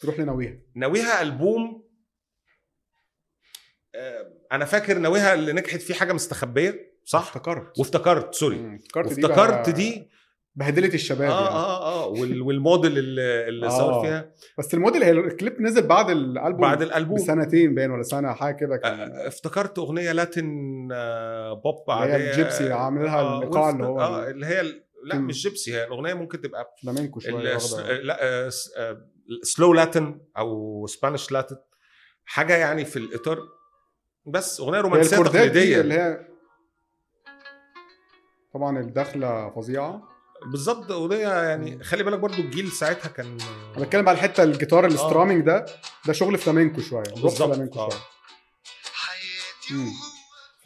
تروح ننويها ناويها البوم آه، انا فاكر ناويها اللي نجحت فيه حاجه مستخبيه صح افتكرت وافتكرت سوري مم، افتكرت دي وافتكرت بقى دي بهدله الشباب اه يعني. اه اه وال- والموديل اللي اللي آه. صور فيها بس الموديل هي الكليب نزل بعد الالبوم بعد الالبوم بسنتين باين ولا سنه حاجه كده آه، كان آه، افتكرت اغنيه لاتن آه، بوب اللي عاديه هي الجيبسي عاملها الإيقاع وفت- اللي هو اه اللي هي ال- لا مم. مش جيبسي هي الاغنيه ممكن تبقى فلامينكو شويه ال- واخدة. لا آه، سلو لاتن او سبانيش لاتن حاجه يعني في الاطار بس اغنيه هي رومانسيه الكوردات دي تقليديه اللي هي طبعا الدخله فظيعه بالظبط اغنيه يعني خلي بالك برضو الجيل ساعتها كان انا بتكلم على الحته الجيتار الاسترامنج ده ده شغل فلامينكو شويه روح آه. بالظبط، فلامينكو آه. شويه مم.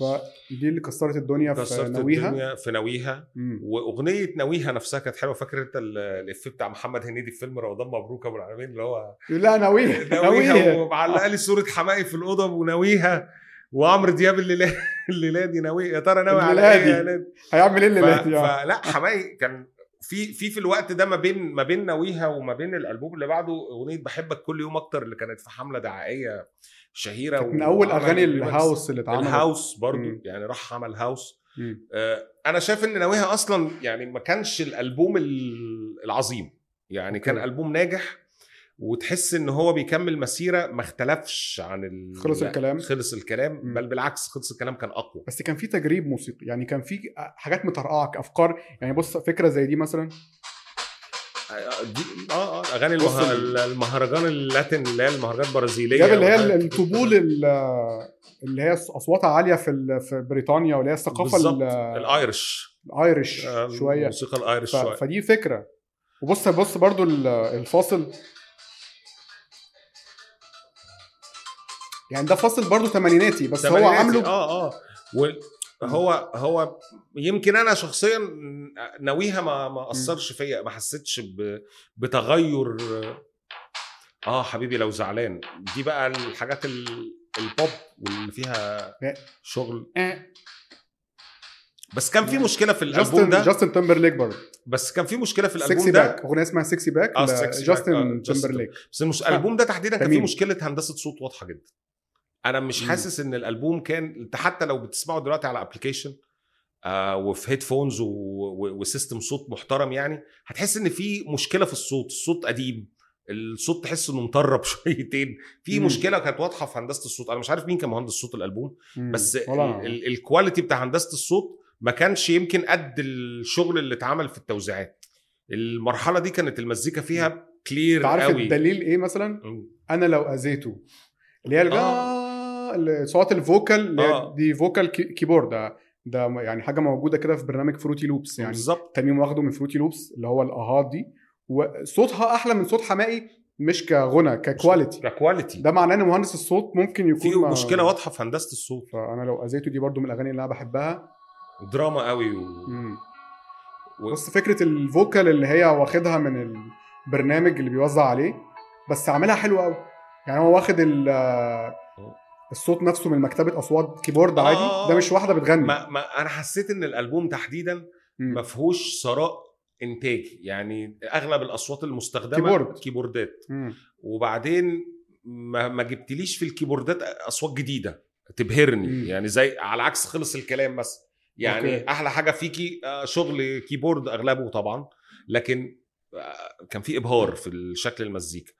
فدي اللي كسرت الدنيا في كسرت ناويها الدنيا في ناويها مم. واغنيه ناويها نفسها كانت حلوه فاكر انت ال- الافيه بتاع محمد هنيدي في فيلم رمضان مبروك ابو العالمين اللي هو يقول لا ناويها ناويها ناويها ومعلقه لي صوره حمائي في الاوضه وناويها وعمرو دياب الليله الليله دي ناوي يا ترى ناوي على ايه الليلة يا دي. ليل؟ هيعمل ايه اللي ف- يعني فلا حماقي كان في في في الوقت ده ما بين ما بين ناويها وما بين الالبوم اللي بعده اغنيه بحبك كل يوم اكتر اللي كانت في حمله دعائيه شهيره من اول وعمل اغاني ريميكس. الهاوس اللي اتعملت الهاوس برضو مم. يعني راح عمل هاوس مم. آه، انا شايف ان ناويها اصلا يعني ما كانش الالبوم ال- العظيم يعني كان أوكي. البوم ناجح وتحس ان هو بيكمل مسيره ما اختلفش عن ال... يعني خلص الكلام. خلص الكلام مم. بل بالعكس خلص الكلام كان اقوى بس كان في تجريب موسيقي يعني كان في حاجات مترقعه افكار يعني بص فكره زي دي مثلا دي- اه اه اغاني بص المه... ال- المهرجان اللاتين اللي هي المهرجانات البرازيليه جاب اللي هي والحاجات- الطبول ال- اللي هي اصواتها عاليه في ال- في بريطانيا واللي هي الثقافه بالظبط، ال- الايرش الايرش آه، شويه الموسيقى الايرش ف... شويه فدي فكره وبص بص برضو ال- الفاصل يعني ده فاصل برضو ثمانيناتي آه. بس هو تمانيناتي. عامله اه اه وال... هو هو يمكن انا شخصيا ناويها ما ما اثرش فيا ما حسيتش ب... بتغير اه حبيبي لو زعلان دي بقى الحاجات ال... البوب واللي فيها شغل آه، بس كان في مشكله في الالبوم جاستن ده جاستن تمبرليك برضو بس كان في مشكله في الالبوم سكسي ده باك اغنيه اسمها سكسي باك آه، سكسي باك، آه، جاستن جاستن تمبرليك بس المش... الالبوم ده تحديدا كان فيه تميم. مشكله هندسه صوت واضحه جدا انا مش مم. حاسس ان الالبوم كان انت حتى لو بتسمعه دلوقتي على ابلكيشن آه وفي هيدفونز و... و... وسيستم صوت محترم يعني هتحس ان في مشكله في الصوت الصوت قديم الصوت تحس انه مطرب شويتين في مم. مشكله كانت واضحه في هندسه الصوت انا مش عارف مين كان مهندس صوت الالبوم مم. بس ولا أنا. ال- ال- الكواليتي بتاع هندسه الصوت ما كانش يمكن قد الشغل اللي اتعمل في التوزيعات المرحله دي كانت المزيكا فيها كلير انت عارف قوي الدليل ايه مثلا مم. انا لو اذيته اللي هي آه، الج- اللي- صوت الفوكال اللي هي آه. دي فوكال كي- كيبورد ده ده يعني حاجه موجوده كده في برنامج فروتي لوبس يعني بالظبط تميم واخده من فروتي لوبس اللي هو الاهات دي وصوتها احلى من صوت حمائي مش كغنى ككواليتي ككواليتي ده آه، معناه ان مهندس الصوت ممكن يكون في ما- مشكله واضحه في هندسه الصوت فانا لو اذيته دي برضو من الاغاني اللي انا بحبها دراما قوي و... مم. و... بص فكره الفوكال اللي هي واخدها من البرنامج اللي بيوزع عليه بس عاملها حلوه قوي يعني هو واخد ال- الصوت نفسه من مكتبه اصوات كيبورد آه. عادي ده مش واحده بتغني ما... ما انا حسيت ان الالبوم تحديدا مم. ما فيهوش ثراء انتاجي يعني اغلب الاصوات المستخدمه كيبورد. كيبوردات مم. وبعدين ما, ما جبتليش في الكيبوردات اصوات جديده تبهرني مم. يعني زي على عكس خلص الكلام مثلا يعني أوكي. احلى حاجه فيكي آه، شغل كيبورد اغلبه طبعا لكن آه، كان في ابهار في شكل المزيكا